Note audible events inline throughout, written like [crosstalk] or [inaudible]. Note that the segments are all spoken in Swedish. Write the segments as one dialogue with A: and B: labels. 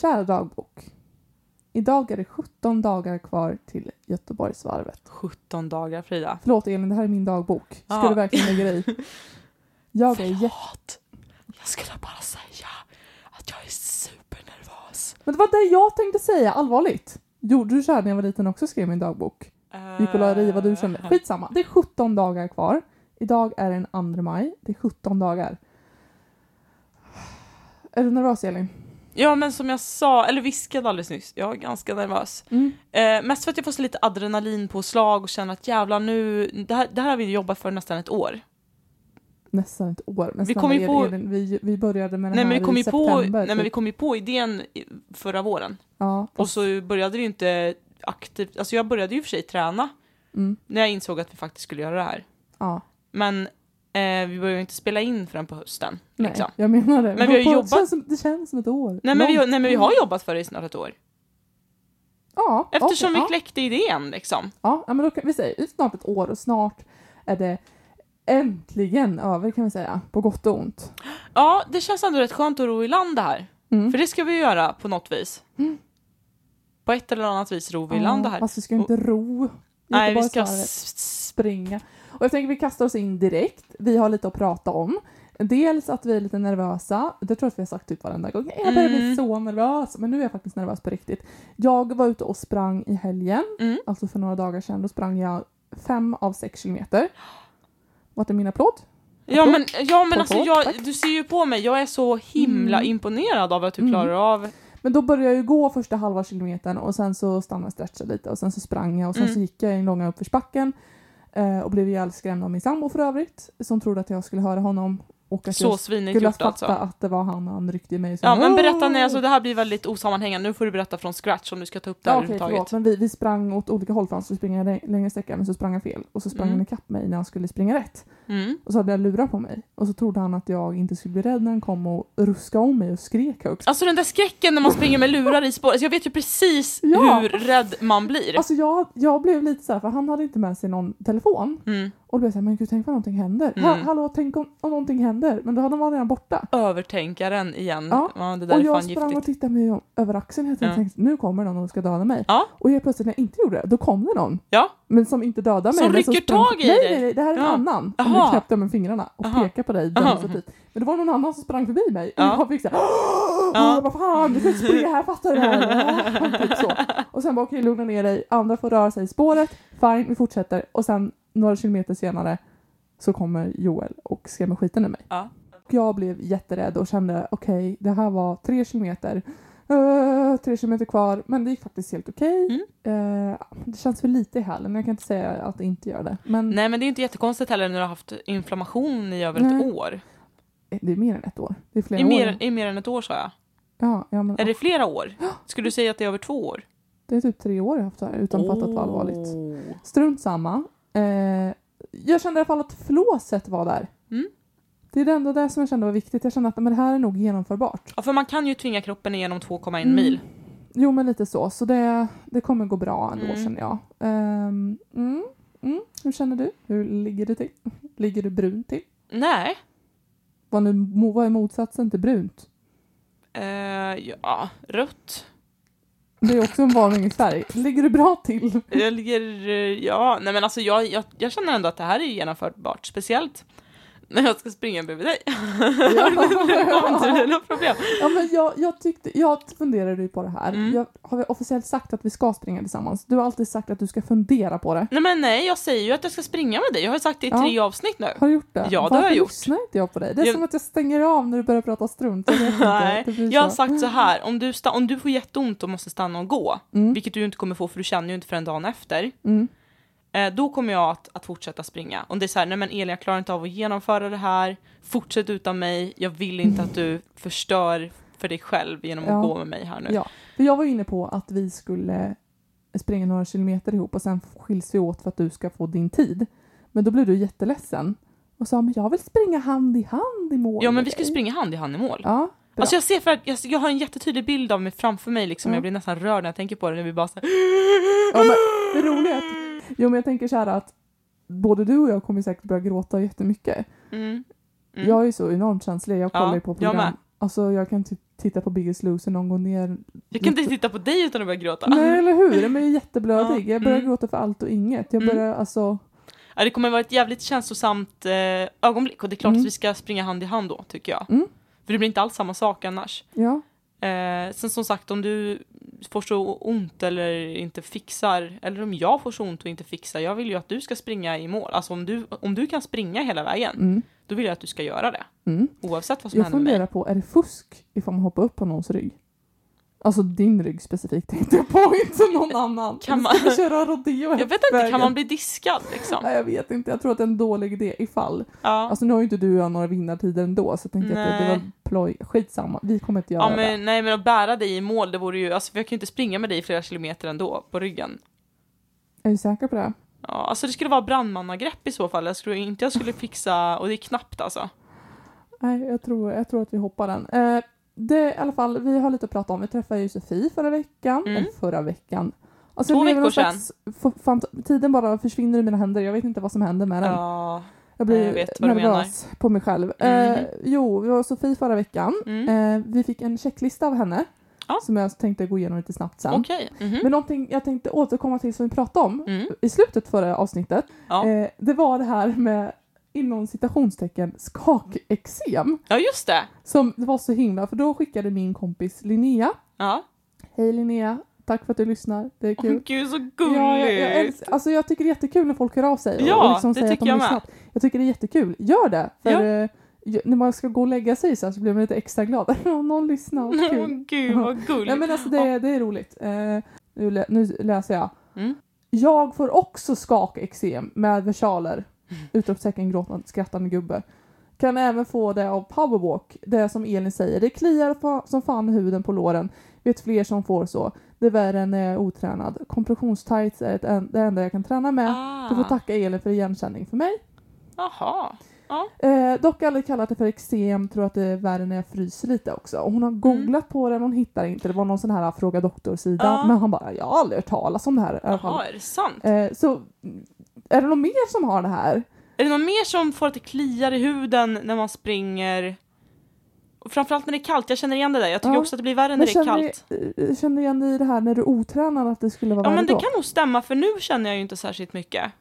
A: Kära dagbok. Idag är det 17 dagar kvar till Göteborgsvarvet.
B: 17 dagar Frida.
A: Förlåt Elin, det här är min dagbok. Ska
B: Ja.
A: du verkligen lägga dig
B: [laughs]
A: i? Jag är jätte...
B: Förlåt. Jag skulle bara säga att jag är supernervös.
A: Men det var det jag tänkte säga, allvarligt. Gjorde du så här när jag var liten också skrev min dagbok?
B: Eh,
A: Gick och la dig i vad du kände. Skitsamma. Det är 17 dagar kvar. Idag är det den 2 maj. Det är 17 dagar. Är du nervös Elin?
B: Ja, men som jag sa, eller viskade alldeles nyss, jag är ganska nervös.
A: Mm.
B: Eh, mest för att jag får så lite adrenalinpåslag och känner att jävlar nu, det här, det här har vi jobbat för nästan ett år.
A: Nästan ett år. Men
B: Vi
A: vi,
B: kommer ju på-
A: Elin, vi, vi började med det
B: Nej
A: här
B: men, vi kom
A: i
B: ju på,
A: september.
B: nej men
A: typ.
B: vi kom ju på idén i- förra våren.
A: Ja,
B: Och så började vi ju inte aktivt, alltså jag började ju för sig träna
A: mm,
B: när jag insåg att vi faktiskt skulle göra det här.
A: ja.
B: Men eh, vi började ju inte spela in förrän på hösten.
A: Nej,
B: Liksom.
A: jag menar det.
B: Men vi har ju
A: på- det
B: jobbat-
A: Känns som, det känns som ett år.
B: Nej, men vi,
A: Långt.
B: nej men vi har jobbat för det i snart ett år.
A: Ja,
B: Eftersom
A: okej,
B: vi
A: ja,
B: kläckte idén liksom.
A: ja, ja, men då kan vi säga det är snart ett år och snart är det äntligen över kan vi säga. På gott och ont.
B: Ja, det känns ändå rätt skönt att ro i land det här.
A: Mm.
B: För det ska vi göra på något vis. På ett eller annat vis ro vi i land det här.
A: Fast vi ska ju inte ro.
B: Nej, vi ska...
A: Göteborgsvarvet.
B: s- s-
A: springa. Och jag tänker vi kastar oss in direkt. Vi har lite att prata om. Dels att vi är lite nervösa. Det tror jag att vi har sagt typ varenda gång. Jag börjar bli
B: Mm.
A: så nervös. Men nu är jag faktiskt nervös på riktigt. Jag var ute och sprang i helgen.
B: Mm.
A: Alltså för några dagar sedan. Då sprang jag fem av sex kilometer. Vart är min applåd?
B: Ja men, ja, men alltså
A: Tack.
B: jag, du ser ju på mig, jag är så himla
A: Mm.
B: imponerad av att du
A: Mm.
B: klarar av...
A: Men då började jag ju gå första halva kilometern och sen så stannade jag stretcha lite och sen så sprang jag och sen
B: Mm.
A: så gick jag i den långa uppförsbacken eh, och blev ihjäl skrämd av min sambo för övrigt som trodde att jag skulle höra honom och att
B: Så
A: jag
B: svinigt
A: skulle ha
B: gjort
A: fattat
B: alltså.
A: att det var han och han ryckte i mig. och sa,
B: Ja men berätta,
A: "Åh!"
B: nej alltså det här blir väldigt osammanhängande, nu får du berätta från scratch om du ska ta upp det här
A: Ja, okej, förlåt.
B: överhuvudtaget.
A: Men vi, vi sprang åt olika håll för han skulle springa lä- längre sträcka men så sprang han fel och så sprang
B: Mm.
A: han ikapp mig när han skulle springa rätt.
B: Mm.
A: Och så hade jag lurat på mig och så trodde han att jag inte skulle bli rädd när han kom och ruskade om mig och skrek högt.
B: Alltså den där skräcken när man springer med lurar i spår, alltså, jag vet ju precis
A: Ja.
B: hur rädd man blir.
A: Alltså jag, jag blev lite så här för han hade inte med sig någon telefon
B: Mm.
A: Och då blev jag såhär, men gud tänk vad någonting händer.
B: Mm.
A: Ha, hallå, tänk om, om någonting händer. Men då hade man redan borta.
B: Övertänkaren igen. Ja.
A: Ja.
B: det där
A: och
B: är
A: jag
B: fan
A: sprang och
B: giftigt.
A: tittade mig om- över axeln hela tiden
B: Ja.
A: och tänkte, nu kommer någon och ska döda mig.
B: Ja.
A: Och helt plötsligt när jag inte gjorde det, då kom det någon.
B: Ja.
A: Men som inte dödade mig.
B: Som
A: men
B: rycker
A: sprang-
B: tag i
A: nej,
B: dig.
A: Nej, nej, det här är en
B: Ja.
A: annan. Som
B: Aha.
A: nu knäppte med fingrarna och
B: Aha.
A: pekade på dig
B: Aha.
A: demonstrativt. Men det var någon annan som sprang förbi mig.
B: Ja.
A: Och jag fick såhär,
B: Ja.
A: ja. vad fan, du kan inte springa här, fattar du det
B: [laughs]
A: här? typ så. Och sen bara, okej lugna ner dig, andra får röra sig i spåret, fine, vi fortsätter. Och sen några kilometer senare så kommer Joel och skrämmer skiten ur mig.
B: Ja.
A: Och jag blev jätterädd och kände, okej, det här var tre kilometer. Eh, tre kilometer kvar, men det gick faktiskt helt okej.
B: Mm.
A: Eh, det känns för lite i hälen, jag kan inte säga att det inte gör det. Men
B: Nej men det är inte jättekonstigt heller när du har haft inflammation i över ett
A: Nej.
B: år.
A: det är mer än ett år. Det är flera
B: I
A: år.
B: mer, I mer än ett år sa jag.
A: Ja, ja, men,
B: Är det flera år? Skulle du säga att det är över två år?
A: det är typ tre år jag haft det här utan att fatta att det var allvarligt.
B: Åh.
A: Strunt samma. Eh, jag kände i alla fall att flåset var där.
B: Mm.
A: Det är det ändå det som jag kände var viktigt. Jag kände att men det här är nog genomförbart.
B: Ja för man kan ju tvinga kroppen igenom 2,1
A: Mm.
B: mil.
A: Jo, men lite så. Så det, det kommer gå bra ändå,
B: Mm.
A: känner jag. Ehm, mm, mm. Hur känner du? Hur ligger du till? Ligger du brunt till?
B: Nej.
A: Vad, nu, mo- vad är motsatsen till brunt?
B: Eh, ja, rött.
A: Det är också en varningsfärg. Ligger du bra
B: [laughs]
A: till?
B: Jag ligger, eh, ja, nej men alltså jag, jag, jag känner ändå att det här är genomförbart, speciellt när jag ska springa bredvid dig.
A: [laughs] Ja.
B: det kommer inte bli något problem.
A: Ja, men jag, jag, tyckte, jag funderade ju på det här.
B: Mm.
A: Jag, har vi officiellt sagt att vi ska springa tillsammans? Du har alltid sagt att du ska fundera på det.
B: Nej men nej, jag säger ju att jag ska springa med dig. Jag har ju sagt det i
A: Ja.
B: tre avsnitt nu.
A: Har du gjort det?
B: Ja, det har
A: Varför
B: jag gjort.
A: lyssnar inte jag på dig? Det är
B: Jag-
A: som att jag stänger av när du börjar prata strunt. Jag vet inte.
B: Nej,
A: Det blir
B: Jag har
A: så.
B: sagt så här, om du, sta- om du får jätteont och måste stanna och gå,
A: Mm.
B: vilket du ju inte kommer få för du känner ju inte förrän dagen efter,
A: Mm.
B: eh, då kommer jag att, att fortsätta springa. Om det är så här, nej men Elin jag klarar inte av att genomföra det här, fortsätt utan mig, jag vill inte att du förstör för dig själv genom att
A: Ja.
B: gå med mig här nu.
A: Ja. För jag var ju inne på att vi skulle springa några kilometer ihop och sen skiljs vi åt för att du ska få din tid. Men då blev du jätteledsen och sa men jag vill springa hand i hand i mål.
B: Ja men
A: med
B: vi ska ju
A: dig."
B: springa hand i hand i mål.
A: Ja, bra.
B: Alltså jag ser för att jag, jag har en jättetydlig bild av mig framför mig liksom.
A: Ja.
B: Jag blir nästan rörd när jag tänker på det. När vi bara så här...
A: Ja, men det roliga är att, jo, men jag tänker så här att både du och jag kommer säkert börja gråta jättemycket.
B: Mm.
A: Jag är ju så enormt känslig. Jag kollar
B: Ja,
A: ju på
B: jag
A: program.
B: med.
A: Jag alltså jag kan typ tittar på Biggest Loser någon går ner.
B: Jag kan inte titta på dig utan att börja gråta.
A: Nej, eller hur? Den är ju jätteblödig.
B: Ja,
A: Jag börjar
B: mm.
A: gråta för allt och inget. Jag
B: Mm.
A: börjar alltså...
B: Ja, det kommer vara ett jävligt känslosamt eh, ögonblick och det är klart
A: Mm.
B: att vi ska springa hand i hand då, tycker jag.
A: Mm.
B: För det blir inte alls samma sak annars.
A: Ja.
B: Eh, sen som sagt, om du får så ont eller inte fixar, eller om jag får så ont och inte fixar, jag vill ju att du ska springa i mål. Alltså om du, om du kan springa hela vägen,
A: Mm.
B: då vill jag att du ska göra det.
A: Mm.
B: Oavsett vad som
A: Jag
B: händer med mig.
A: funderar på, är det fusk ifall man hoppar upp på någons rygg? Alltså din rygg specifikt [laughs] tänkte jag på, inte någon annan.
B: Eh, Kan
A: Ska vi
B: man-
A: köra rodeo
B: Jag vet inte,
A: vägen?
B: kan man bli diskad liksom?
A: Nej, jag vet inte, jag tror att det är en dålig idé ifall.
B: Ja.
A: Alltså nu har ju inte du och jag några vinnartider ändå så jag tänkte jag att det, det var
B: Nej.
A: ploj. Skitsamma, vi kommer inte göra
B: Ja,
A: det.
B: men, nej men att bära dig i mål, det vore ju, alltså för jag kan ju inte springa med dig i flera kilometer ändå, på ryggen.
A: Är du säker på det?
B: Ja, alltså det skulle vara brandmannagrepp i så fall. Jag skulle inte jag skulle fixa, och det är knappt alltså.
A: Nej, jag tror, jag tror att vi hoppar den. Eh, det, I alla fall, vi har lite att prata om. Vi träffade ju Sofie förra veckan.
B: Mm.
A: Och förra veckan. Alltså,
B: Två
A: jag lever någon
B: veckor
A: slags f- fant- Tiden bara försvinner i mina händer. Jag vet inte vad som händer med den.
B: Ja.
A: Jag blir
B: Eh, jag vet vad du
A: nervös på mig själv.
B: Mm.
A: Eh, jo, vi var Sofie förra veckan.
B: Mm.
A: Eh, vi fick en checklista av henne.
B: Ja.
A: Som jag tänkte gå igenom lite snabbt sen.
B: Okej. Mhm.
A: Men någonting jag tänkte återkomma till som vi pratade om
B: Mm.
A: i slutet förra avsnittet.
B: Ja.
A: Eh, det var det här med inom citationstecken skakexem.
B: ja, just det.
A: Som det var så himla, för då skickade min kompis Linnea.
B: Ja.
A: Hej Linnea, tack för att du lyssnar, det är
B: Åh,
A: kul.
B: Gud, så gulligt.
A: Ja, jag, jag, älsk- alltså jag tycker det är jättekul när folk hör av sig och,
B: Ja,
A: och liksom
B: det
A: säger att
B: tycker
A: de har
B: jag med.
A: lyssnat. Jag tycker det är jättekul, gör det! För
B: Ja.
A: eh, ju- när man ska gå och lägga sig så, här så blir man lite extra glad. [laughs] Om någon lyssnar, vad
B: Åh,
A: kul.
B: [laughs] Gud, vad
A: Nej
B: gulligt.
A: men alltså det, är- det är roligt. Eh, nu, lä- nu läser jag.
B: Mm.
A: Jag får också skakexem med versaler.
B: Mm.
A: Utropstecken, gråtande, skrattande gubbe. Kan även få det av powerwalk, det som Elin säger. Det kliar fa- som fan i huden på låren. Vet fler som får så. Det är värre när jag är otränad. Kompressionstights är ett en- det enda jag kan träna med. Du får
B: Ah.
A: tacka Elin för igenkänning för mig.
B: Jaha.
A: Eh, dock aldrig kallat det för eksem, tror att det är värre när jag fryser lite också. Och hon har
B: Mm.
A: googlat på det men hon hittar inte. Det var någon sån här fråga doktor-sida.
B: Ja.
A: Men han bara, jag har aldrig hört talas om det här i alla fall.
B: Jaha, är det sant?
A: Eh, så mm, är det någon mer som har det här?
B: Är det någon mer som får att det kliar i huden när man springer? Och framförallt när det är kallt, jag känner igen det där. Jag tycker
A: Ja.
B: också att det blir värre
A: Men
B: när det är
A: känner,
B: kallt.
A: ni- eh, känner igen ni det här när du är otränad att det skulle vara
B: Ja
A: värre
B: men det
A: då?
B: kan nog stämma för nu känner jag ju inte särskilt mycket.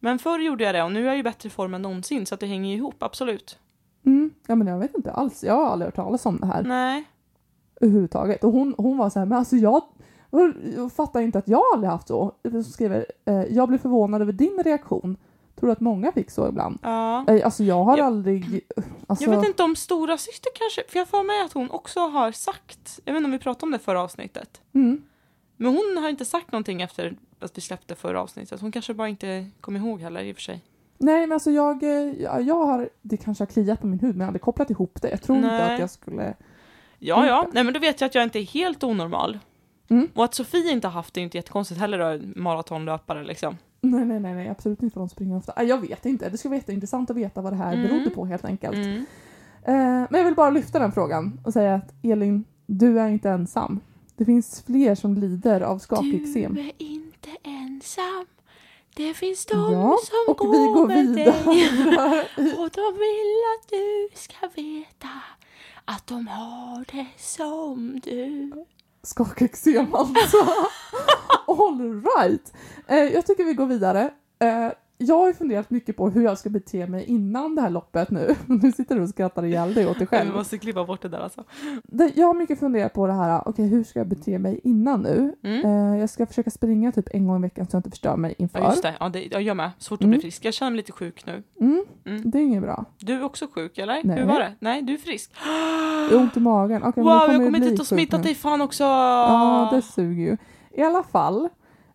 B: Men förr gjorde jag det och nu är jag ju i bättre form än någonsin så att det hänger ihop, absolut.
A: Mm. Ja men jag vet inte alls, jag har aldrig hört talas om det här
B: Nej.
A: överhuvudtaget. Och hon, hon var så här, men alltså jag, jag fattar inte att jag aldrig haft så. Hon skriver, eh, jag blev förvånad över din reaktion. Tror du att många fick så ibland?
B: Ja.
A: Nej, alltså jag har
B: Jag-
A: aldrig... Alltså,
B: Jag vet inte om stora syster kanske, för jag får med att hon också har sagt, jag vet inte om vi pratade om det förra avsnittet,
A: Mm.
B: men hon har inte sagt någonting efter att vi släppte förra avsnittet. Hon kanske bara inte kom ihåg heller i och för sig.
A: Nej, men alltså jag, eh, jag, jag har... Det kanske har kliat på min hud, men jag har aldrig kopplat ihop det. Jag tror inte
B: Nej.
A: att jag skulle...
B: Ja, ja, nej men då vet jag att jag inte är helt onormal.
A: Mm.
B: Och att Sofie inte har haft det är inte jättekonstigt heller då, maratonlöpare liksom.
A: Nej, nej, nej, nej absolut inte för de springer ofta. Ah, Jag vet inte. Det skulle vara jätteintressant att veta vad det här
B: Mm.
A: berodde på helt enkelt.
B: Mm.
A: Eh, men jag vill bara lyfta den frågan och säga att Elin, du är inte ensam. Det finns fler som lider av skakexem.
B: är inte ensam. Det finns
A: de Ja, som och vi går går med vidare. [laughs]
B: Och de vill att du ska veta att de har det som du.
A: Skakexem
B: [laughs]
A: alltså. All right. Eh, jag tycker vi går vidare. Eh, jag har ju funderat mycket på hur jag ska bete mig innan det här loppet nu. [laughs] Nu sitter du och skrattar ihjäl dig åt dig
B: Vi
A: själv.
B: måste klippa bort det där alltså.
A: Det, jag har mycket funderat på det här, okej hur ska jag bete mig innan nu?
B: Mm.
A: Eh, jag ska försöka springa typ en gång i veckan så jag inte förstör mig inför.
B: Ja just det, ja, det jag gör med. Svårt att
A: Mm.
B: bli frisk. Jag känner mig lite sjuk nu.
A: Mm,
B: Mm.
A: det är inget bra.
B: Du är också sjuk eller?
A: Nej.
B: Hur var det? Nej, du är frisk.
A: Jag har ont i magen. Okej, men
B: Wow,
A: då
B: jag har
A: bli
B: kommit hit och
A: sjuk
B: smittat
A: nu.
B: dig fan också!
A: Ja, det suger ju. I alla fall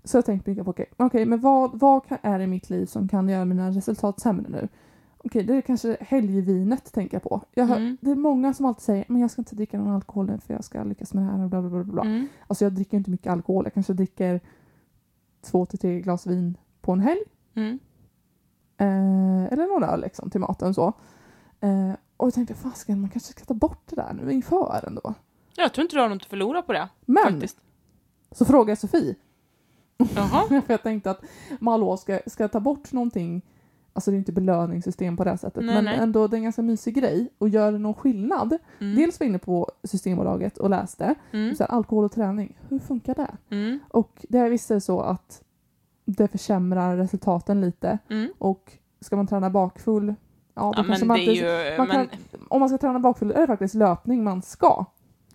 A: så har jag tänkt mycket på okej, okej, men vad, vad kan, är det i mitt liv som kan göra mina resultat sämre nu? Okej, det är kanske helgvinet tänker jag på. Jag hör,
B: Mm.
A: Det är många som alltid säger men jag ska inte dricka någon alkohol nu för jag ska lyckas med det här och bla bla bla. bla.
B: Mm.
A: Alltså jag dricker ju inte mycket alkohol. Jag kanske dricker två till tre glas vin på en helg.
B: Mm.
A: Eh, eller några öl liksom, till maten så. Eh, och jag tänkte fasken, man kanske ska ta bort det där nu inför ändå.
B: Jag tror inte du har något att förlora på det.
A: Men
B: Faktiskt.
A: så frågade jag Sofie, [laughs]
B: Jaha.
A: för jag tänkte att Malå ska, ska jag ta bort någonting Alltså det är inte belöningssystem på det här sättet.
B: Nej,
A: men
B: nej.
A: ändå, det är en ganska mysig grej. Och gör det någon skillnad? [laughs]
B: Mm.
A: Dels var jag inne på Systembolaget och läste.
B: Mm.
A: Så här, alkohol och träning, hur funkar det?
B: Mm.
A: Och det visar sig så att det försämrar resultaten lite.
B: Mm.
A: Och ska man träna bakfull, ja, då
B: Ja,
A: kanske
B: men
A: man
B: det
A: inte...
B: är ju...
A: man
B: Eh, men,
A: kan- Om man ska träna bakfull är det faktiskt löpning man ska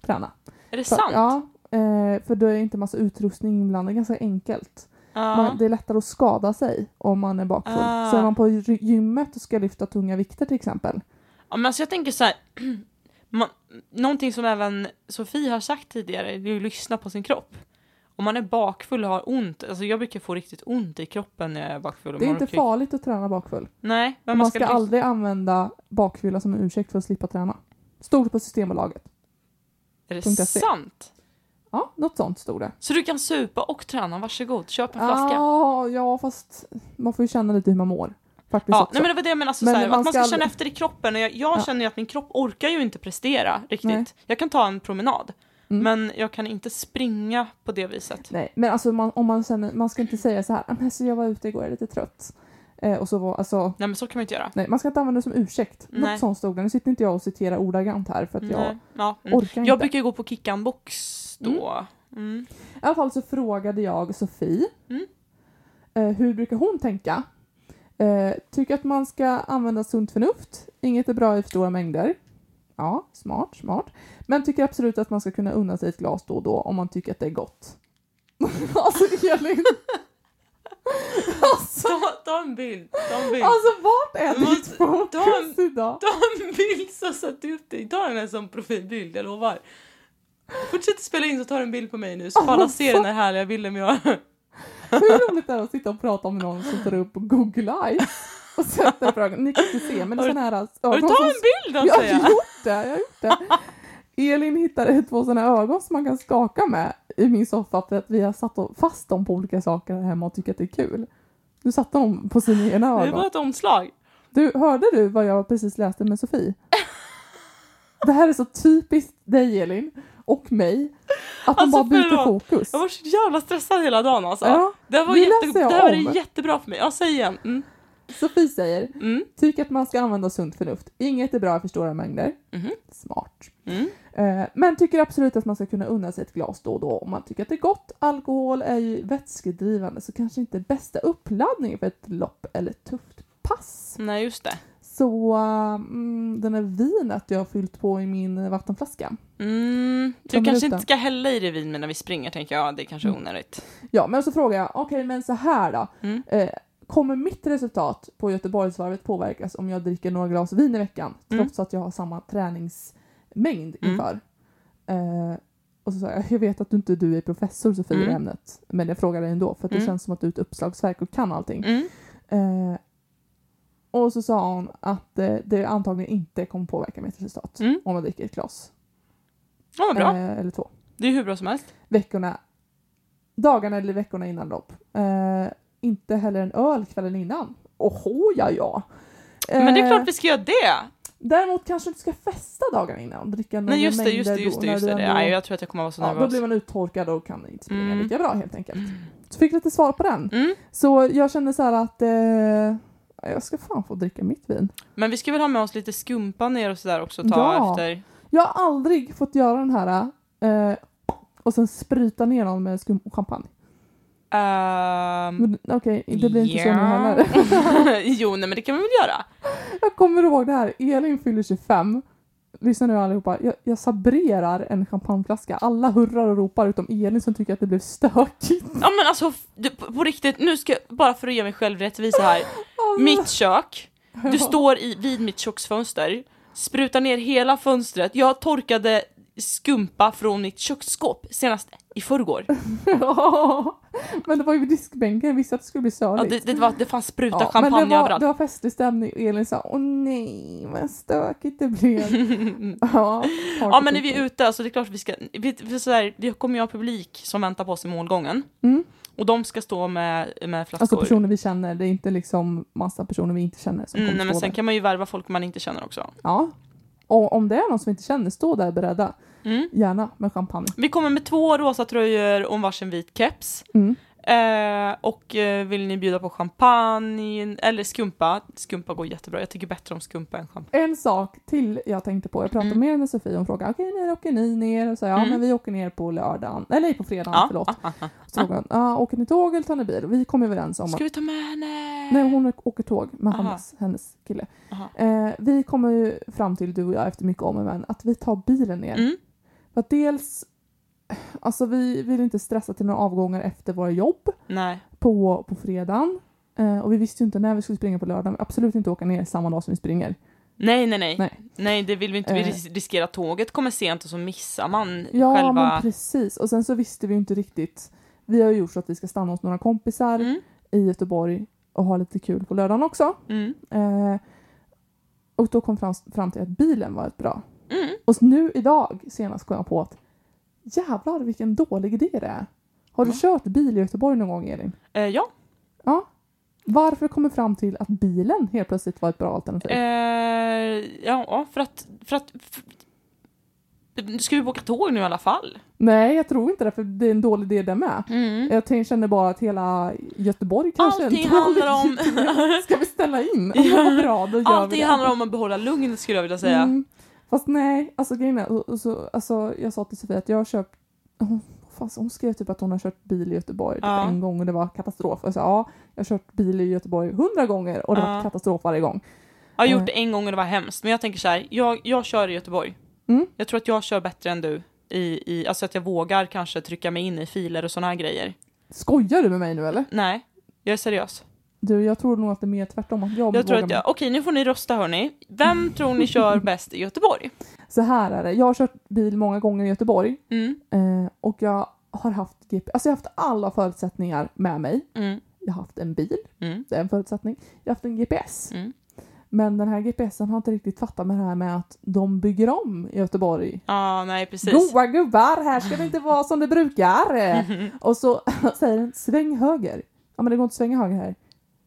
A: träna.
B: är det
A: För-
B: sant?
A: Ja, eh, för då är inte massa utrustning inblandad, ganska enkelt.
B: Ja.
A: Man, det är lättare att skada sig om man är bakfull.
B: Ah.
A: Så är man på gy- gymmet och ska lyfta tunga vikter till exempel.
B: Ja, men alltså jag tänker så här. [clears throat] Man, någonting som även Sofie har sagt tidigare, det är ju att lyssna på sin kropp. Om man är bakfull och har ont, alltså jag brukar få riktigt ont i kroppen när jag är bakfull. och
A: Det är
B: man
A: inte
B: orkar-
A: farligt att träna bakfull.
B: Nej, men
A: Man,
B: man
A: ska,
B: ska, lys-
A: aldrig använda bakfylla som en ursäkt för att slippa träna. Stod det på Systembolaget.
B: Är det
A: punkt se.
B: sant?
A: Ja, något sånt stod det.
B: Så du kan supa och träna, varsågod, köp en flaska.
A: Ja, Ah, ja, fast man får ju känna lite hur man mår. Faktiskt
B: Ja,
A: också.
B: nej men det var det jag menade, alltså,
A: Men
B: så här,
A: man
B: att man
A: ska
B: ska
A: aldrig-
B: känna efter i kroppen. Och jag jag
A: Ja.
B: känner ju att min kropp orkar ju inte prestera riktigt.
A: Nej.
B: Jag kan ta en promenad,
A: Mm.
B: men jag kan inte springa på det viset.
A: Nej, men alltså man, om man känner, man ska inte säga så här, "Ah, men alltså, jag var ute igår, jag är lite trött. Eh, och så var, alltså,
B: Nej men så kan man inte göra.
A: nej, man ska inte använda det som ursäkt.
B: Nej.
A: Något sånt stod det. Nu sitter inte jag och citerar ordagrant här för att jag
B: Nej. Ja, mm.
A: orkar
B: Jag
A: inte.
B: brukar ju gå på Kickan Box då. Mm.
A: I alla fall så frågade jag Sofie
B: Mm.
A: eh, hur brukar hon tänka? Eh, tycker att man ska använda sunt förnuft. Inget är bra i för stora mängder. Ja, smart, smart. Men tycker absolut att man ska kunna unna sig ett glas då och då om man tycker att det är gott. [laughs] alltså Elin! alltså,
B: Ta, ta en bild, ta en bild.
A: alltså vart är
B: Du måste-
A: ditt fokus
B: de-
A: idag?
B: Ta en bild så sätter du upp dig. Ta den här som profilbild, jag lovar. Fortsätt spela in så tar du en bild på mig nu så får alla se den här härliga bilden vi har.
A: Hur roligt är det att sitta och prata med någon som tar upp Google Eyes och sätter frågan. Ni kan inte se men det är
B: Har du-
A: sådana här alltså,
B: Har du
A: ögon
B: ta
A: som
B: en bild då
A: Jag har
B: säger jag.
A: gjort det, jag har gjort det. Elin hittade två sådana ögon som man kan skaka med i min soffa för att vi har satt dem- fast dem på olika saker här hemma och tycker att det är kul. Nu satte hon på sina egna
B: Det är bara
A: ögon.
B: ett omslag.
A: Du, hörde du vad jag precis läste med Sofie? Det här är så typiskt dig Elin och mig, att man
B: Alltså,
A: bara byter
B: förlåt.
A: fokus.
B: Jag var så jävla stressad hela dagen alltså.
A: Ja,
B: Det här var,
A: det
B: jätte,
A: läser
B: det
A: jag
B: här var
A: om.
B: jättebra för mig. Ja, säg igen. Mm.
A: Sofie säger,
B: Mm.
A: tycker att man ska använda sunt förnuft. Inget är bra för stora mängder.
B: Mhm.
A: Smart.
B: Mm.
A: Eh, Men tycker absolut att man ska kunna unna sig ett glas då och då om man tycker att det är gott. Alkohol är ju vätskedrivande så kanske inte bästa uppladdningen för ett lopp eller ett tufft pass.
B: Nej, just det.
A: Så eh, mm, den här vinet jag har fyllt på i min vattenflaska.
B: Mm.
A: Ta
B: Du
A: en minut
B: kanske
A: då.
B: inte ska hälla i dig vin när vi springer tänker jag. Det kanske är
A: Mm.
B: onödigt.
A: Ja, men så frågar jag, okej men så här då.
B: Mm.
A: Eh, kommer mitt resultat på Göteborgsvarvet påverkas om jag dricker några glas vin i veckan
B: Mm.
A: trots att jag har samma träningsmängd
B: Mm.
A: inför? Eh, och så sa jag, jag vet att du inte du är professor Sofie i
B: Mm.
A: ämnet, men jag frågar dig ändå för att det
B: Mm.
A: känns som att du är ett uppslagsverk och kan allting.
B: Mm.
A: Eh, och så sa hon att eh, det antagligen inte kommer påverka mitt resultat
B: Mm.
A: om jag dricker ett glas.
B: Ja, vad bra.
A: Eh, eller två
B: Det är hur bra som helst.
A: veckorna, dagarna eller veckorna innan lopp. Eh, inte heller en öl kvällen innan. Oho, ja, ja. Eh,
B: Men det är klart vi ska göra det.
A: Däremot kanske du inte ska festa dagarna innan och dricka några
B: Nej, just det,
A: mängder
B: just det, just det.
A: då,
B: Just
A: när
B: det.
A: du ändå-
B: Nej, jag tror att jag kommer vara så
A: ja, då
B: nervös.
A: blir man uttorkad och kan inte springa
B: Mm.
A: lika bra helt enkelt. Så fick jag lite svar på den.
B: Mm.
A: Så jag kände så här att eh, jag ska fan få dricka mitt vin.
B: Men vi ska väl ha med oss lite skumpa ner och sådär också. Ta
A: Ja.
B: efter.
A: Jag har aldrig fått göra den här eh, och sen spruta ner någon med skum och champagne.
B: Ehm,
A: Men Okej, det blir inte så nu
B: ja.
A: heller.
B: [laughs] jo, nej, men det kan vi väl göra.
A: Jag kommer ihåg det här. Elin fyller 25. Lyssna nu allihopa. Jag, jag sabrerar en champagneflaska. Alla hurrar och ropar utom Elin som tycker att det blev stökigt.
B: Ja men alltså, f- du, på på riktigt, nu ska jag, bara för att ge mig själv
A: [laughs]
B: rättvisa här.
A: Alltså.
B: Mitt kök, du står i, vid mitt köksfönster, sprutar ner hela fönstret. Jag torkade skumpa från mitt köksskåp senast i förrgår.
A: Ja. men det var ju vid diskbänken. Jag visste att det skulle bli
B: Ja,
A: sörligt.
B: det, det, var, det fanns spruta
A: Ja, men
B: champagne
A: det var,
B: överallt.
A: det var festlig stämning och Elin sa åh nej vad stökigt det
B: [laughs]
A: blev. ja,
B: Ja men när vi är ute, så det är klart att vi ska, vi, vi, så här, vi kommer ju ha publik som väntar på oss i målgången.
A: Mm.
B: Och de ska stå med, med flaskor.
A: Alltså personer vi känner. Det är inte liksom massa personer vi inte känner som
B: mm,
A: kommer
B: nej, men
A: stå
B: sen
A: där.
B: kan man ju värva folk man inte känner också.
A: Ja. Och om det är någon som vi inte känner, stå där beredda.
B: Mm.
A: Gärna med champagne.
B: Vi kommer med två rosa tröjor och en varsin vit keps.
A: Mm.
B: Eh, och eh, vill ni bjuda på champagne eller skumpa, skumpa går jättebra. Jag tycker bättre om skumpa än champagne.
A: En sak till jag tänkte på, jag pratade
B: Mm.
A: mer med Sofie, hon frågade okej när åker ni ner? Och så sa jag, ja
B: Mm.
A: men vi åker ner på lördagen, eller på fredagen, förlåt.
B: ah, ah,
A: Så frågade hon, ah, åker ni tåg eller tar ni bil? Och vi kom överens om
B: ah.
A: att
B: Ska vi ta med henne?
A: Nej, hon åker tåg med
B: Aha.
A: Hannes, hennes kille.
B: Aha.
A: Eh, vi kommer ju fram till, du och jag, efter mycket om och men, att vi tar bilen ner.
B: Mm.
A: För att dels, alltså vi vill inte stressa till några avgångar efter våra jobb
B: Nej.
A: på, på fredagen. Eh, och vi visste ju inte när vi skulle springa på lördagen. Absolut inte åka ner samma dag som vi springer.
B: Nej, nej, nej,
A: Nej.
B: nej. det vill vi inte. Vi
A: Eh.
B: ris- riskerar tåget kommer sent och så missar man
A: Ja, men
B: själva...
A: precis. Och sen så visste vi ju inte riktigt. Vi har ju gjort så att vi ska stanna hos några kompisar
B: Mm,
A: i Göteborg och ha lite kul på lördagen också.
B: mm,
A: Eh, och då kom fram, fram till att bilen var ett bra
B: mm.
A: Och nu idag senast kom jag på att jävlar vilken dålig idé det är. Har du
B: Ja.
A: kört bil i Göteborg någon gång Elin?
B: Eh, ja.
A: Varför kommer fram till att bilen helt plötsligt var ett bra alternativ?
B: Eh, ja, ja, för att... För att för... Ska vi åka tåg nu i alla fall?
A: Nej, jag tror inte det för det är en dålig idé det med.
B: Mm.
A: Jag tänk- känner bara att hela Göteborg kanske är en
B: Allting
A: dålig
B: handlar om...
A: idé. Ska vi ställa in? Ja, bra, [laughs] då gör vi
B: Allting
A: det.
B: handlar om att behålla lugnet skulle jag vilja säga.
A: Mm. Fast nej, alltså grejen är, och- och så, alltså, jag sa till Sofia att jag har köpt hon, fan, hon skrev typ att hon har kört bil i Göteborg typ
B: Ja.
A: en gång och det var katastrof. Och jag sa ja, jag har kört bil i Göteborg hundra gånger och det var
B: Ja.
A: katastrof varje gång.
B: Jag har gjort
A: Eh.
B: det en gång och det var hemskt, men jag tänker så här, jag, jag kör i Göteborg.
A: Mm.
B: Jag tror att jag kör bättre än du. I, i, alltså att jag vågar kanske trycka mig in i filer och såna här grejer.
A: Skojar du med mig nu eller?
B: Nej, jag är seriös.
A: Du, jag tror nog att det är mer tvärtom. Att jag
B: Jag tror
A: vågar Mm.
B: att jag, okej nu får ni rösta hörni. Vem tror ni kör bäst i Göteborg?
A: Så här är det, jag har kört bil många gånger i Göteborg
B: Mm,
A: eh, och jag har haft GP, alltså jag har haft alla förutsättningar med mig.
B: mm,
A: Jag har haft en bil,
B: mm,
A: det är en förutsättning. Jag har haft en GPS.
B: mm.
A: Men den här GPSen har inte riktigt fattat med det här med att de bygger om i Göteborg.
B: Ja, nej precis. Mhm.
A: Goa gubbar, här ska det
B: [laughs]
A: inte vara som det brukar! Och så [laughs] säger den sväng höger. Ja men det går inte att svänga höger här.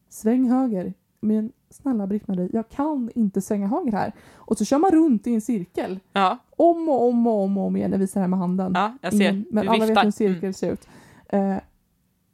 A: Sväng höger. Men snälla Britt-Marie, jag kan inte svänga höger här. Och så kör man runt i en cirkel.
B: Ja,
A: Om och om och om, och om igen. Jag visar här med handen.
B: ja, jag ser.
A: Ingen- Mm, men
B: Du
A: alla vet hur
B: viftar.
A: en cirkel
B: Mm.
A: ser ut. Eh,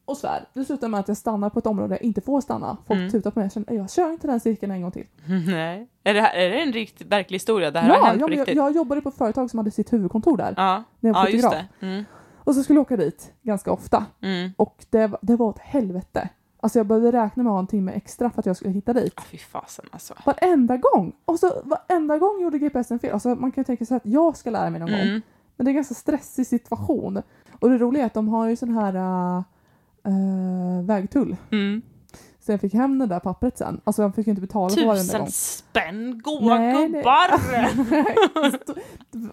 A: och svär. Det slutar med att jag stannar på ett område jag inte får stanna. Folk
B: Mm.
A: tutar på mig. Jag känner, jag kör inte den cirkeln en gång till.
B: [laughs] Nej. Är det, här, är det en riktigt verklig historia? Det här
A: ja,
B: har hänt
A: ja,
B: på
A: men jag,
B: riktigt?
A: jag jobbade på ett företag som hade sitt huvudkontor där
B: ja,
A: när jag var
B: ja just
A: fotograf.
B: det. Mm,
A: Och så skulle jag åka dit ganska ofta
B: mm.
A: och det, var- det var ett helvete. Alltså jag började räkna med att ha en timme extra för att jag skulle hitta dit.
B: Ah, fy fasen alltså.
A: Varenda gång! Och så varenda gång gjorde GPSen fel. Alltså man kan ju tänka sig att jag ska lära mig någon gång.
B: Mm.
A: Men det är en ganska stressig situation. Och det roliga är att de har ju sån här äh, äh, vägtull.
B: Mm.
A: Så jag fick hem det där pappret sen. Alltså jag fick ju inte betala för varenda gång. [laughs]
B: Tusen spänn, goa
A: Nej, det-
B: gubbar!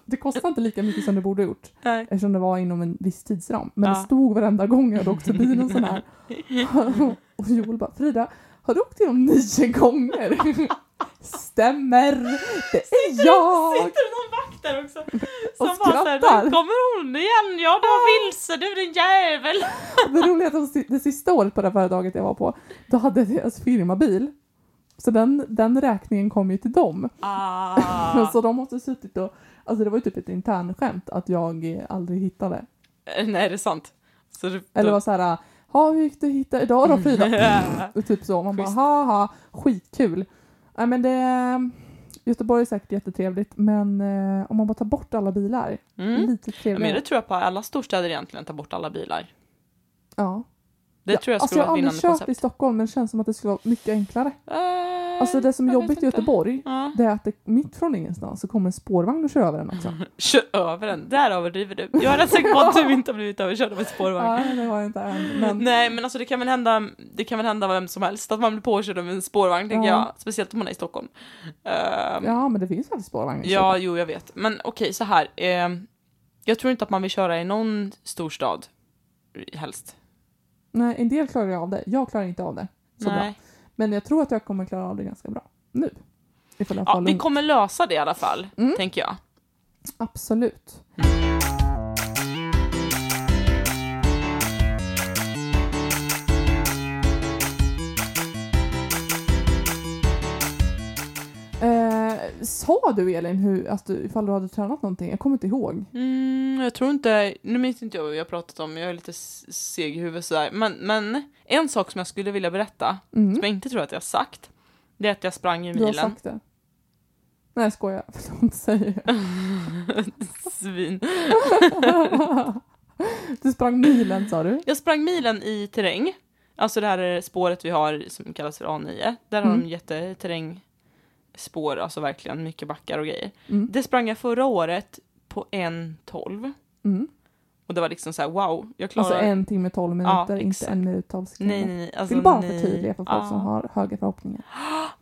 A: det kostar inte lika mycket som det borde ha gjort.
B: Nej.
A: eftersom det var inom en viss tidsram. Men det
B: Ja.
A: stod varenda gång jag hade åkt förbi någon
B: [laughs]
A: sån här. Och Joel bara, Frida, har du åkt igenom nio gånger? Stämmer, det är jag!
B: Sitter det någon vakt där också? Som
A: [laughs] Och
B: bara såhär,
A: skrattar. Ah.
B: nu kommer hon igen, ja du har vilse du din jävel!
A: Det roliga är att de si- det sista året på det här företaget jag var på, då hade deras firmabil. Så den, den räkningen kom ju till dem.
B: Ah.
A: [laughs] Så de måste ha suttit och, alltså det var ju typ ett internskämt att jag eh, aldrig hittade.
B: Eh, Nej det är sant. Så du,
A: Eller var så här, ja hur gick det att hitta idag då
B: [laughs]
A: Frida? Och typ så. Man bara
B: Schysst.
A: haha, skitkul. Nej men det... Göteborg är säkert jättetrevligt men eh, om man bara tar bort alla bilar.
B: mm.
A: Lite
B: Ja, Men
A: trevligare.
B: det tror jag på alla storstäder egentligen, ta bort alla bilar.
A: Ja.
B: Det
A: Ja,
B: tror jag
A: alltså
B: skulle
A: jag har
B: vara ett
A: aldrig
B: vinnande
A: kört i
B: koncept.
A: Stockholm men det känns som att det skulle vara mycket enklare.
B: Eh,
A: Alltså det som är
B: jag vet
A: jobbigt i
B: inte.
A: Göteborg
B: Ja.
A: det är att det, mitt från ingenstans så kommer en spårvagn och kör över den
B: [laughs]
A: också.
B: Kör över den, där överdriver du. Jag är rätt säker på att du inte har blivit överkörd av en spårvagn.
A: ja, det var jag inte än. Men,
B: Nej men alltså det kan väl hända, det kan väl hända vem som helst att man blir påkörd av en spårvagn tänker
A: Ja.
B: jag. Speciellt om man är i Stockholm. Ehm, ja,
A: Ja men det finns faktiskt spårvagnar i Stockholm.
B: jo jag vet. Men okej så här. ehm, jag tror inte att man vill köra i någon storstad. Helst.
A: Nej, en del klarar jag av det. Jag klarar inte av det. Så bra.
B: Nej.
A: Men jag tror att jag kommer klara av det ganska bra. Nu. Ifall jag
B: Ja,
A: får
B: vi
A: lugn.
B: kommer lösa det i alla fall,
A: Mm.
B: tänker jag.
A: Absolut. Eh, sa du Elin hur, att du, ifall du hade tränat någonting? Jag kommer inte ihåg.
B: Mm, jag tror inte, nu minns inte jag vad jag pratat om, jag är lite s- seg i huvudet sådär. Men, men en sak som jag skulle vilja berätta,
A: Mm.
B: som jag inte tror att jag har sagt, det är att jag sprang i
A: Du har
B: milen.
A: sagt det. Nej, jag skojar. [laughs] Sånt säger
B: [laughs]
A: jag.
B: Svin.
A: du sprang milen sa du?
B: Jag sprang milen i terräng, alltså det här är spåret vi har som kallas för A9. Där har
A: Mm.
B: de jätteterrängspår, alltså verkligen mycket backar och grejer.
A: Mm.
B: Det sprang jag förra året på 1.12.
A: Mm.
B: Och det var liksom så här: wow, jag klarar...
A: Alltså en timme, tolv
B: Ja,
A: minuter, inte
B: exakt.
A: en minut, tolv sekunder.
B: nej, nej, nej. Alltså,
A: Vill bara
B: nej.
A: förtydliga för folk
B: Ja.
A: som har höga förhoppningar.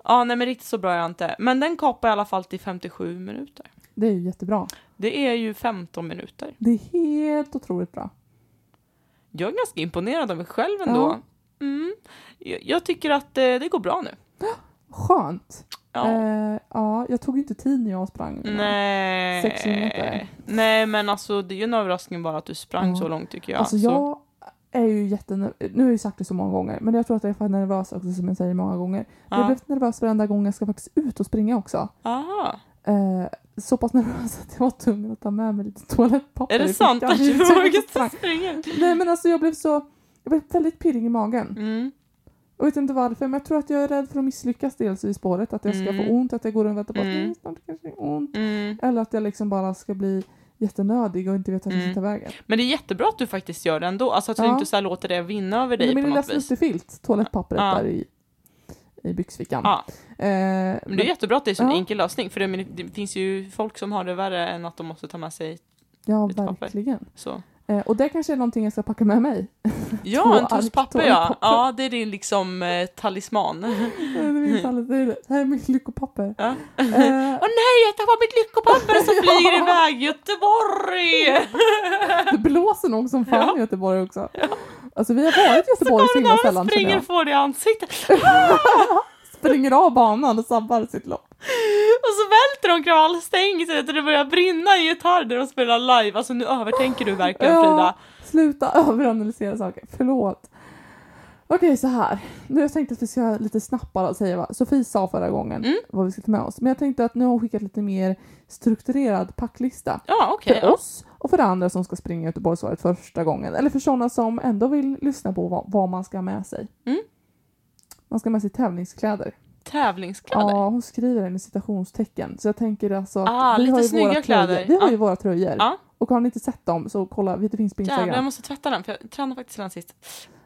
B: Ja, nej men riktigt så bra är jag inte. Men den kapade i alla fall till 57 minuter.
A: Det är ju jättebra.
B: Det är ju 15 minuter.
A: Det är helt otroligt bra.
B: Jag är ganska imponerad av mig själv ändå. Mm. Jag, jag tycker att eh, det går bra nu.
A: Skönt.
B: Ja.
A: Eh, ja, jag tog ju inte tid när jag sprang.
B: nej.
A: sex kilometer.
B: Nej, men alltså det är ju en överraskning bara att du sprang
A: Ja.
B: så långt tycker jag.
A: Alltså
B: Så,
A: jag är ju jättenervös. Nu har jag ju sagt det så många gånger, men jag tror att jag är fan nervös också som jag säger många gånger. Jag har
B: ja.
A: blivit nervös varenda gång jag ska faktiskt ut och springa också.
B: Aha.
A: Eh, så pass nervös att jag var tvungen att ta med mig lite toalettpapper
B: Är det
A: i
B: sant
A: fickan. [laughs]
B: att [laughs] du
A: Jag sprang.
B: vågade springa?
A: Nej men alltså jag blev så, jag blev väldigt pirrig i magen.
B: Mm.
A: Jag vet inte varför men jag tror att jag är rädd för att misslyckas dels i spåret, att jag ska
B: Mm.
A: få ont, att jag går och väntar på att
B: Mm.
A: "Nej, snart kanske det är ont.
B: Mm.
A: Eller att jag liksom bara ska bli jättenödig och inte vet vart jag
B: Mm.
A: ska ta vägen.
B: Men det är jättebra att du faktiskt gör det ändå. Alltså att du
A: Ja.
B: inte så här låter det vinna över dig
A: Men
B: på
A: min lilla
B: något vis.
A: snuttefilt, toalettpappret
B: Ja.
A: där i, i byxfickan.
B: Ja.
A: Eh,
B: Men det är jättebra att det är så en
A: Ja.
B: enkel lösning, för det, men det finns ju folk som har det värre än att de måste ta med sig
A: ja,
B: lite papper.
A: verkligen.
B: så.
A: Eh, och det kanske är någonting jag ska packa med
B: [laughs]
A: mig. Två
B: Ja, en tuss
A: ark
B: papper ja.
A: toalettpapper.
B: Ja, det är din liksom eh,
A: [laughs]
B: talisman.
A: Det minns alla till. Det här är mitt lyckopapper.
B: Ja.
A: Eh,
B: Åh nej, jag tappar mitt lyckopapper
A: [laughs]
B: som flyger iväg Göteborg!
A: det blåser nog som fan
B: Ja.
A: i Göteborg också. Alltså vi har varit i Göteborg så himla
B: När
A: sällan
B: man
A: känner
B: springer
A: jag.
B: får det i ansiktet [laughs]
A: Springer av banan och sabbar sitt lopp.
B: och så välter de kravallstängslet och det börjar brinna i gitarr där de spelar live. Alltså nu övertänker du verkligen
A: Ja.
B: Frida.
A: Sluta [laughs] överanalysera saker, förlåt. Okej så här. Nu har jag tänkt att vi ska lite snabbt bara säga vad Sofie sa förra gången
B: Mm.
A: vad vi ska ta med oss. Men jag tänkte att nu har hon skickat lite mer strukturerad packlista.
B: Ja, okej.
A: För
B: ja.
A: oss och för andra som ska springa Göteborgsvarvet första gången. Eller för sådana som ändå vill lyssna på vad, vad man ska ha med sig.
B: Mm.
A: Man ska ha med sig tävlingskläder.
B: Tävlingskläder.
A: Ja, hon skriver den i citationstecken. Så jag tänker alltså att
B: Ah,
A: vi, har
B: lite
A: ju våra
B: snygga kläder.
A: Tröjor. vi har
B: Ja.
A: ju våra tröjor.
B: Ja.
A: Och har ni inte sett dem så kolla, det finns på
B: Jävlar, jag
A: Instagram.
B: måste tvätta den för jag tränade faktiskt den sist.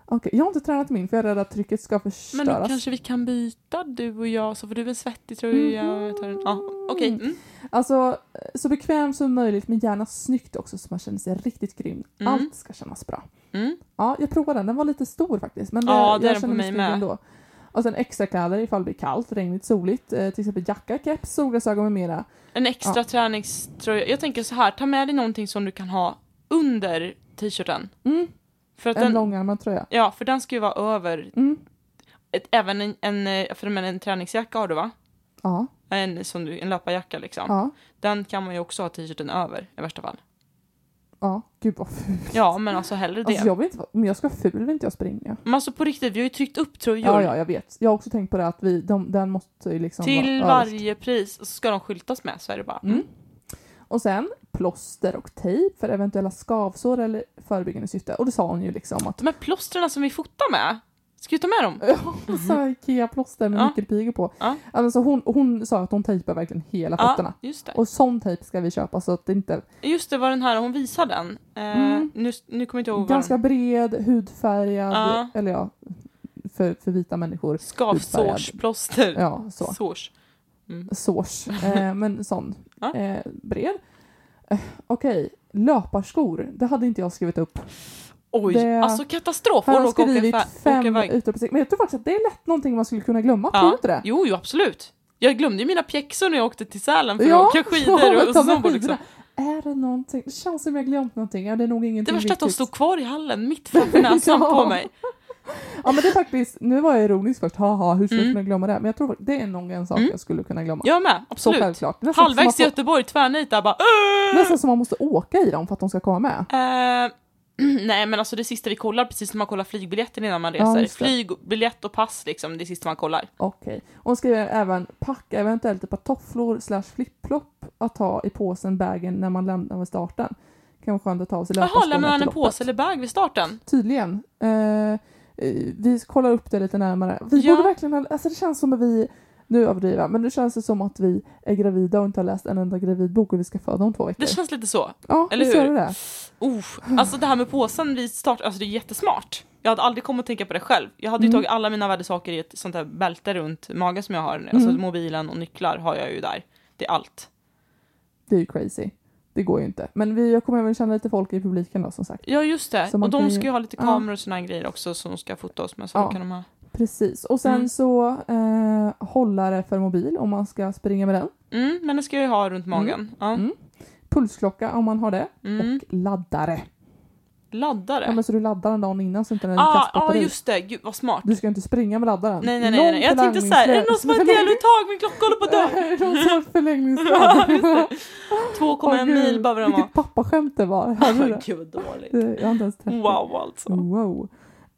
A: Okej, jag har inte tränat min för jag är rädd att trycket ska
B: Men
A: förstöras.
B: då kanske vi kan byta du och jag så får du en svettig tröja och
A: Mhm.
B: jag tar en... Ja, okej. Mm.
A: Alltså, så bekväm som möjligt men gärna snyggt också så man känner sig riktigt grym.
B: Mm.
A: Allt ska kännas bra.
B: Mm.
A: Ja, jag provade den. Den var lite stor faktiskt. Men det,
B: Ja, det är
A: jag
B: den
A: känner mig
B: på mig
A: snygg
B: med.
A: ändå. Och sen extra kläder ifall det blir kallt, regnigt, soligt. Eh, till exempel jacka, keps, solglasögon med mera.
B: En extra
A: Ja.
B: träningströja. Jag tänker så här, ta med dig någonting som du kan ha under t-shirten.
A: Mm,
B: För att
A: en
B: den,
A: långärmad tröja.
B: Ja, för den ska ju vara över.
A: Mm,
B: Ett, även en, en, eh, för men en träningsjacka har du va?
A: ja,
B: En, som du, en löparjacka liksom.
A: ja,
B: Den kan man ju också ha t-shirten över i värsta fall.
A: ja. Gud vad ful.
B: Ja, men alltså hellre det.
A: Alltså, jag vill inte, vara- men jag ska vara ful vill inte jag springa.
B: Men alltså på riktigt, vi har ju tryckt upp tröjor.
A: Ja, ja, jag vet. Jag har också tänkt på det att vi, de, den måste ju liksom
B: Till
A: vara överst.
B: varje pris. Och så ska de skyltas med så är det bara.
A: Mm. Och sen plåster och tejp för eventuella skavsår eller förebyggande syfte. Och det sa hon ju liksom att
B: De här plåstren som vi fotar med, ska vi ta med dem?
A: Ja, så här Ikea-plåster med
B: Mhm. Ja.
A: nyckelpigor på.
B: Ja.
A: Alltså hon, hon sa att hon tejpar verkligen hela fötterna.
B: Ja, just det.
A: Och sån tejp ska vi köpa så att det inte...
B: Just det var den här, hon visade den. Eh,
A: Mm.
B: nu, nu kommer jag inte ihåg vad
A: Ganska
B: den...
A: bred, hudfärgad,
B: Ja.
A: eller ja, för, för vita människor.
B: Skavsårsplåster.
A: Ja, så.
B: Sårs. Mm.
A: Sårs. Eh, men sån.
B: [laughs] Ja.
A: Eh, bred. Eh, Okej, löparskor. Det hade inte jag skrivit upp.
B: Oj,
A: Det-
B: alltså katastrof.
A: Här har
B: Hon
A: jag
B: åker
A: skrivit
B: åka, fem... åka
A: fem
B: iväg.
A: utropstecken. Men jag tror faktiskt att det är lätt någonting man skulle kunna glömma.
B: Ja.
A: Tror du inte det?
B: Jo, jo, absolut. Jag glömde ju mina pjäxor när jag åkte till Sälen för
A: Ja,
B: att
A: [laughs]
B: åka
A: ja,
B: skidor och
A: ta med
B: snowboard. Liksom.
A: skidorna. Är det någonting? Det känns som jag glömt någonting. Ja, det är nog
B: Det
A: ingenting
B: värsta att de
A: viktigt.
B: stod kvar i hallen
A: [laughs]
B: mitt framför näsan
A: Ja.
B: på mig.
A: Ja men det är faktiskt, nu var jag ironisk först, haha hur skulle
B: Mm.
A: jag kunna glömma det? Men jag tror fakt- det är nog en sak
B: Mm.
A: jag skulle kunna glömma.
B: Jag med,
A: så
B: absolut.
A: självklart. Nästan som, man
B: Halvvägs till
A: får,
B: Göteborg, tvärnit där bara... "Åh!"
A: nästan som man måste åka i dem för att de ska komma med.
B: Eh, [clears throat] Nej men alltså det sista vi kollar precis som man kollar flygbiljetten innan man
A: Ja,
B: reser.
A: just det.
B: Flygbiljett och pass liksom, det är sista man kollar.
A: Okej. Hon skriver även packa eventuellt ett par tofflor slash flipflop att ha i påsen, bagen, när man lämnar vid starten. Kan vara skönt att ta av sig
B: Jaha,
A: löparskorna
B: lämnar man
A: efter
B: en
A: loppet.
B: påse eller bag vid starten?
A: Tydligen. Eh, eh, vi kollar upp det lite närmare. Vi
B: Ja.
A: borde verkligen ha, alltså det känns som att vi, nu överdriver jag, men det känns det som att vi är gravida och inte har läst en enda gravidbok och vi ska föda om två veckor.
B: Det känns lite så.
A: ja,
B: eller
A: visst gör
B: hur?
A: Det?
B: Oh, alltså det här med påsen vid start, alltså det är jättesmart. Jag hade aldrig kommit att tänka på det själv. Jag hade ju
A: Mm.
B: tagit alla mina värdesaker i ett sånt här bälte runt magen som jag har. Alltså
A: Mm.
B: mobilen och nycklar har jag ju där. Det är allt.
A: det är ju crazy. Det går ju inte. Men vi, jag kommer även känna lite folk i publiken då som sagt.
B: Ja just det,
A: Så man
B: och de
A: kan ju-
B: ska ju ha lite
A: ja.
B: kameror och såna här grejer också som ska fota oss med. Så
A: Ja.
B: då kan de ha...
A: Precis. Och sen
B: Mm.
A: så eh, hållare för mobil om man ska springa med den.
B: Mm, men det ska jag ju ha runt magen. Ja.
A: Mm. Pulsklocka om man har det.
B: Mm.
A: Och laddare.
B: Laddare.
A: Ja, men så du laddar den dagen innan så inte den
B: ah,
A: kastar
B: ah,
A: batteri.
B: just det, gud vad smart.
A: Du ska inte springa med laddaren.
B: Nej nej nej, nej. jag tänkte såhär, är det någon
A: [laughs]
B: som har deluttag? Min klocka håller på att [laughs] dö.
A: Någon sorts
B: Ja, just
A: förlängningsladd.
B: det. 2,1
A: Åh, gud,
B: mil behöver den vara.
A: [laughs] Vilket pappaskämt det var. Hörde du det?
B: Gud vad dåligt.
A: Det- Jag har inte ens träffat
B: Wow alltså.
A: Wow.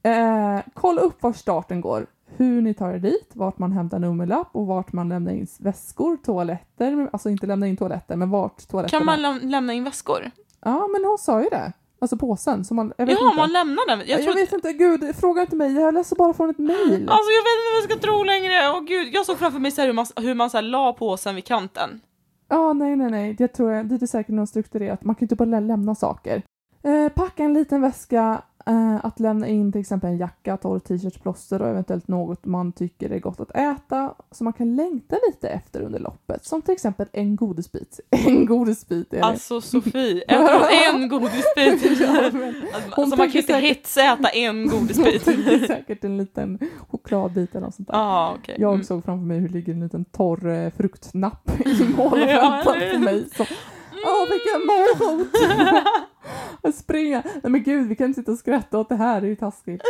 A: Eh, kolla upp var starten går, hur ni tar er dit, vart man hämtar nummerlapp och vart man lämnar in väskor, toaletter, alltså inte lämna in toaletter, men vart toaletterna...
B: Kan man läm- lämna in väskor?
A: Ja, men hon sa ju det. Alltså påsen. Så man, jag vet
B: Jaha,
A: inte.
B: man lämnar den? Jag,
A: Jag,
B: trodde...
A: vet inte, gud, fråga inte mig, jag läser bara från ett mejl.
B: Alltså jag vet inte vad jag ska tro längre. Åh gud, jag såg framför mig så här hur man, hur man så här la påsen vid kanten.
A: Ja, nej, nej, nej. Jag tror jag, det är säkert något strukturerat. Man kan ju inte bara lä- lämna saker. Eh, packa en liten väska eh, att lämna in till exempel en jacka, torr t-shirt, plåster och eventuellt något man tycker är gott att äta som man kan längta lite efter under loppet. Som till exempel en godisbit. [laughs] En godisbit är det.
B: Alltså Sofie, äter
A: [laughs]
B: hon en godisbit?
A: Ja, men
B: Alltså
A: Hon
B: man kan ju
A: tänker
B: inte
A: säkert-
B: hetsäta en godisbit.
A: [laughs] hon tänker säkert en liten chokladbit eller något sånt där.
B: Ja, okej.
A: Jag
B: Mm.
A: såg framför mig hur det ligger en liten torr eh, fruktnapp i mål och
B: [laughs] Ja,
A: väntar
B: eller
A: på
B: hur? Mm.
A: mig. Så, Åh, vilken morot!
B: [laughs]
A: och springa. Nej men gud, vi kan inte sitta och skratta åt det här, det är ju taskigt.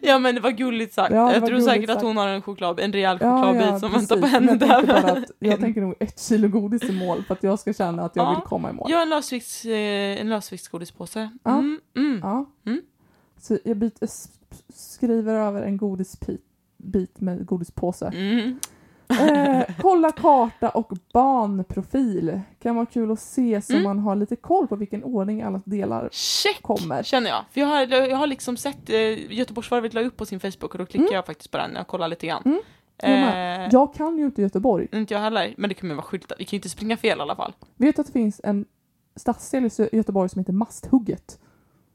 B: Ja men det var gulligt sagt.
A: Ja, det
B: jag
A: var
B: tror
A: gulligt
B: säkert att
A: sagt.
B: hon har en choklad, en rejäl chokladbit som väntar på
A: precis.
B: henne
A: Men jag
B: där.
A: tänker bara att,
B: [laughs]
A: jag tänker nog ett kilo godis i mål för att jag ska känna att jag
B: Ja.
A: vill komma i mål.
B: Jag har en, lösvikts, eh, en lösviktsgodispåse.
A: Ja.
B: Mm, mm.
A: Ja.
B: Mm.
A: Så jag byter, s- s- skriver över en godispit bit med godispåse.
B: Mm.
A: Eh, kolla karta och banprofil. Kan vara kul att se så
B: Mm.
A: man har lite koll på vilken ordning alla delar
B: Check!
A: kommer.
B: Känner jag. För jag har, jag har liksom sett eh, Göteborgsvarvet la upp på sin Facebook och då klickar jag faktiskt på den när jag kollar lite grann.
A: Mm. Jag
B: Eh,
A: Jag kan ju inte Göteborg.
B: Inte jag heller, men det kommer vara skyltat. Vi kan ju inte springa fel i alla fall.
A: Vet du att det finns en stadsdel i Sö- Göteborg som heter Masthugget?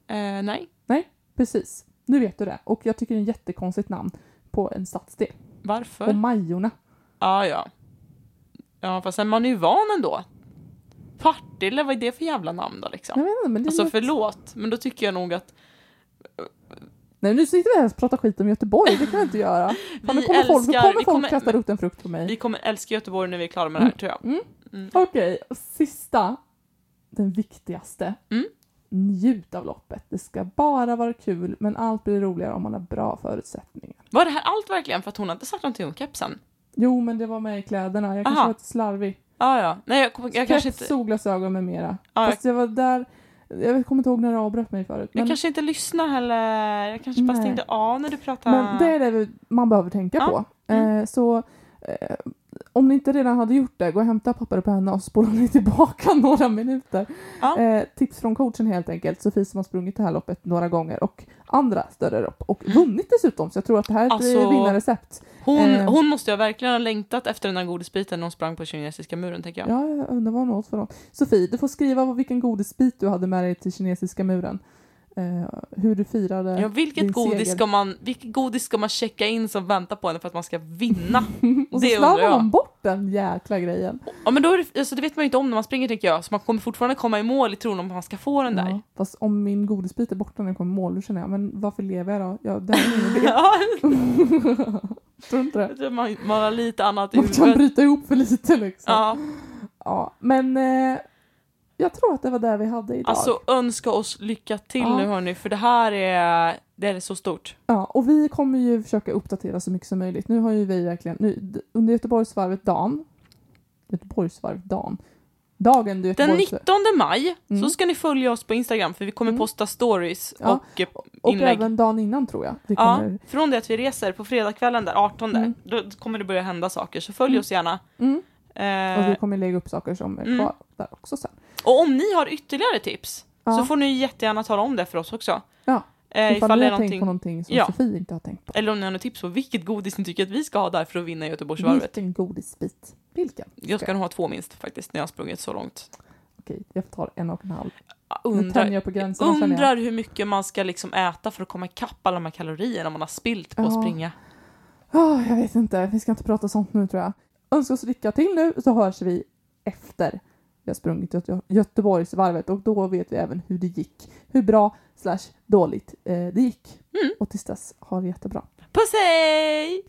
B: Eh, nej,
A: Precis. Nu vet du det. Och jag tycker det är ett jättekonstigt namn på en stadsdel.
B: varför?
A: Och
B: Ja,
A: Majorna.
B: ah, ja. Ja, fast sen man är ju van ändå. Partille, vad är det för jävla namn då liksom?
A: Jag vet inte, men det är
B: Alltså
A: något-
B: förlåt, men då tycker jag nog att
A: Nej, nu sitter vi här och pratar skit om Göteborg. Det kan
B: [laughs]
A: jag inte göra. Fan, nu
B: Vi
A: kommer folk, nu
B: älskar-
A: kommer folk
B: vi kommer-
A: kasta ut en frukt på mig.
B: vi kommer älska Göteborg när vi är klara med det här tror jag.
A: Mm.
B: Mm.
A: Okej, och sista. Den viktigaste.
B: Mm.
A: Njut av loppet. Det ska bara vara kul, men allt blir roligare om man har bra förutsättningar.
B: Var det här allt verkligen? För att hon har inte sagt någonting om kepsen.
A: Jo, men det var med i kläderna. Jag kanske
B: Aha.
A: var lite slarvig.
B: Ah, ja, nej jag, kom, jag kanske inte...
A: solglasögon med mera.
B: Ja, jag-
A: Fast jag var där... Jag kommer inte ihåg när du avbröt mig förut.
B: Jag
A: Men,
B: kanske inte lyssnar heller. Jag kanske bara
A: Nej.
B: stängde av när du pratade.
A: men det är det vi- man behöver tänka
B: Ja.
A: på.
B: Mm.
A: Eh, så eh, om ni inte redan hade gjort det, gå och hämta papper och penna och spola [laughs] ni tillbaka några minuter.
B: Ja.
A: Eh, tips från coachen helt enkelt. Sofie som har sprungit det här loppet några gånger och andra större lopp och vunnit dessutom. Så jag tror att det här är ett
B: Alltså-
A: eh, vinnarrecept.
B: hon,
A: eh.
B: hon måste ju verkligen ha längtat efter den här godisbiten när hon sprang på kinesiska muren, tänker
A: Ja,
B: jag.
A: jag undrar vad hon åt för något. Sofie, du får skriva vad- vilken godisbit du hade med dig till kinesiska muren. Eh, hur du firade.
B: Ja, vilket,
A: din
B: godis
A: seger.
B: ska man, vilket godis ska man checka in som väntar på henne för att man ska vinna?
A: och så
B: det undrar
A: slarvade
B: jag.
A: de bort den jäkla grejen.
B: Ja, men då är det, alltså, det vet man ju inte om när man springer, tänker jag. Så man kommer fortfarande komma i mål i tron om man ska få den där.
A: Ja, fast om min godisbit är borta när jag kommer i mål, då känner jag, men varför lever jag då? Ja, det här är ingen idé.
B: [laughs] Ja,
A: Tror du inte
B: [laughs]
A: det?
B: jag tror man, man har lite annat i
A: Man kan
B: huvudet.
A: bryta ihop för lite liksom.
B: Ja,
A: Ja, men eh, jag tror att det var det vi hade idag.
B: alltså önska oss lycka till
A: Ja.
B: nu hörni, för det här är, det är så stort.
A: Ja, och vi kommer ju försöka uppdatera så mycket som möjligt. Nu har ju vi verkligen, nu, d- under Göteborgsvarvet dagen, Göteborgsvarvet dagen, dagen du är
B: Den
A: Göteborgs-
B: 19 maj
A: Mm.
B: så ska ni följa oss på Instagram för vi kommer
A: Mm.
B: posta stories
A: Ja,
B: och eh,
A: Och
B: inlägg.
A: även dagen innan tror jag. Vi
B: ja,
A: kommer...
B: från det att vi reser på fredagskvällen där 18
A: Mm.
B: då då kommer det börja hända saker så följ
A: Mm.
B: oss gärna.
A: mm. Och
B: Eh,
A: vi kommer lägga upp saker som är
B: Mm.
A: kvar där också sen.
B: och om ni har ytterligare tips
A: Ja.
B: så får ni jättegärna tala om det för oss också.
A: Ja.
B: Eh,
A: ifall
B: ifall
A: ni
B: det är
A: har tänkt
B: någonting,
A: på någonting som
B: Ja.
A: Sofie inte har tänkt på.
B: eller om ni har något tips på vilket godis ni tycker att vi ska ha där för att vinna Göteborgsvarvet.
A: Vilken godisbit? Vilken?
B: Jag ska nog ha två minst faktiskt när jag har sprungit så långt.
A: Okej, jag tar en och en halv.
B: Jag
A: Nu tänjer
B: Undrar,
A: jag på gränserna känner jag.
B: undrar hur mycket man ska liksom äta för att komma ikapp alla de här kalorierna man har spilt på att
A: Ja.
B: springa.
A: Åh, Ah, jag vet inte, vi ska inte prata sånt nu tror jag. Önska oss lycka till nu så hörs vi efter vi har sprungit Göte- Göteborgsvarvet och då vet vi även hur det gick. Hur bra slash dåligt eh, det gick.
B: Mm.
A: Och tills dess, ha det jättebra.
B: Puss hej!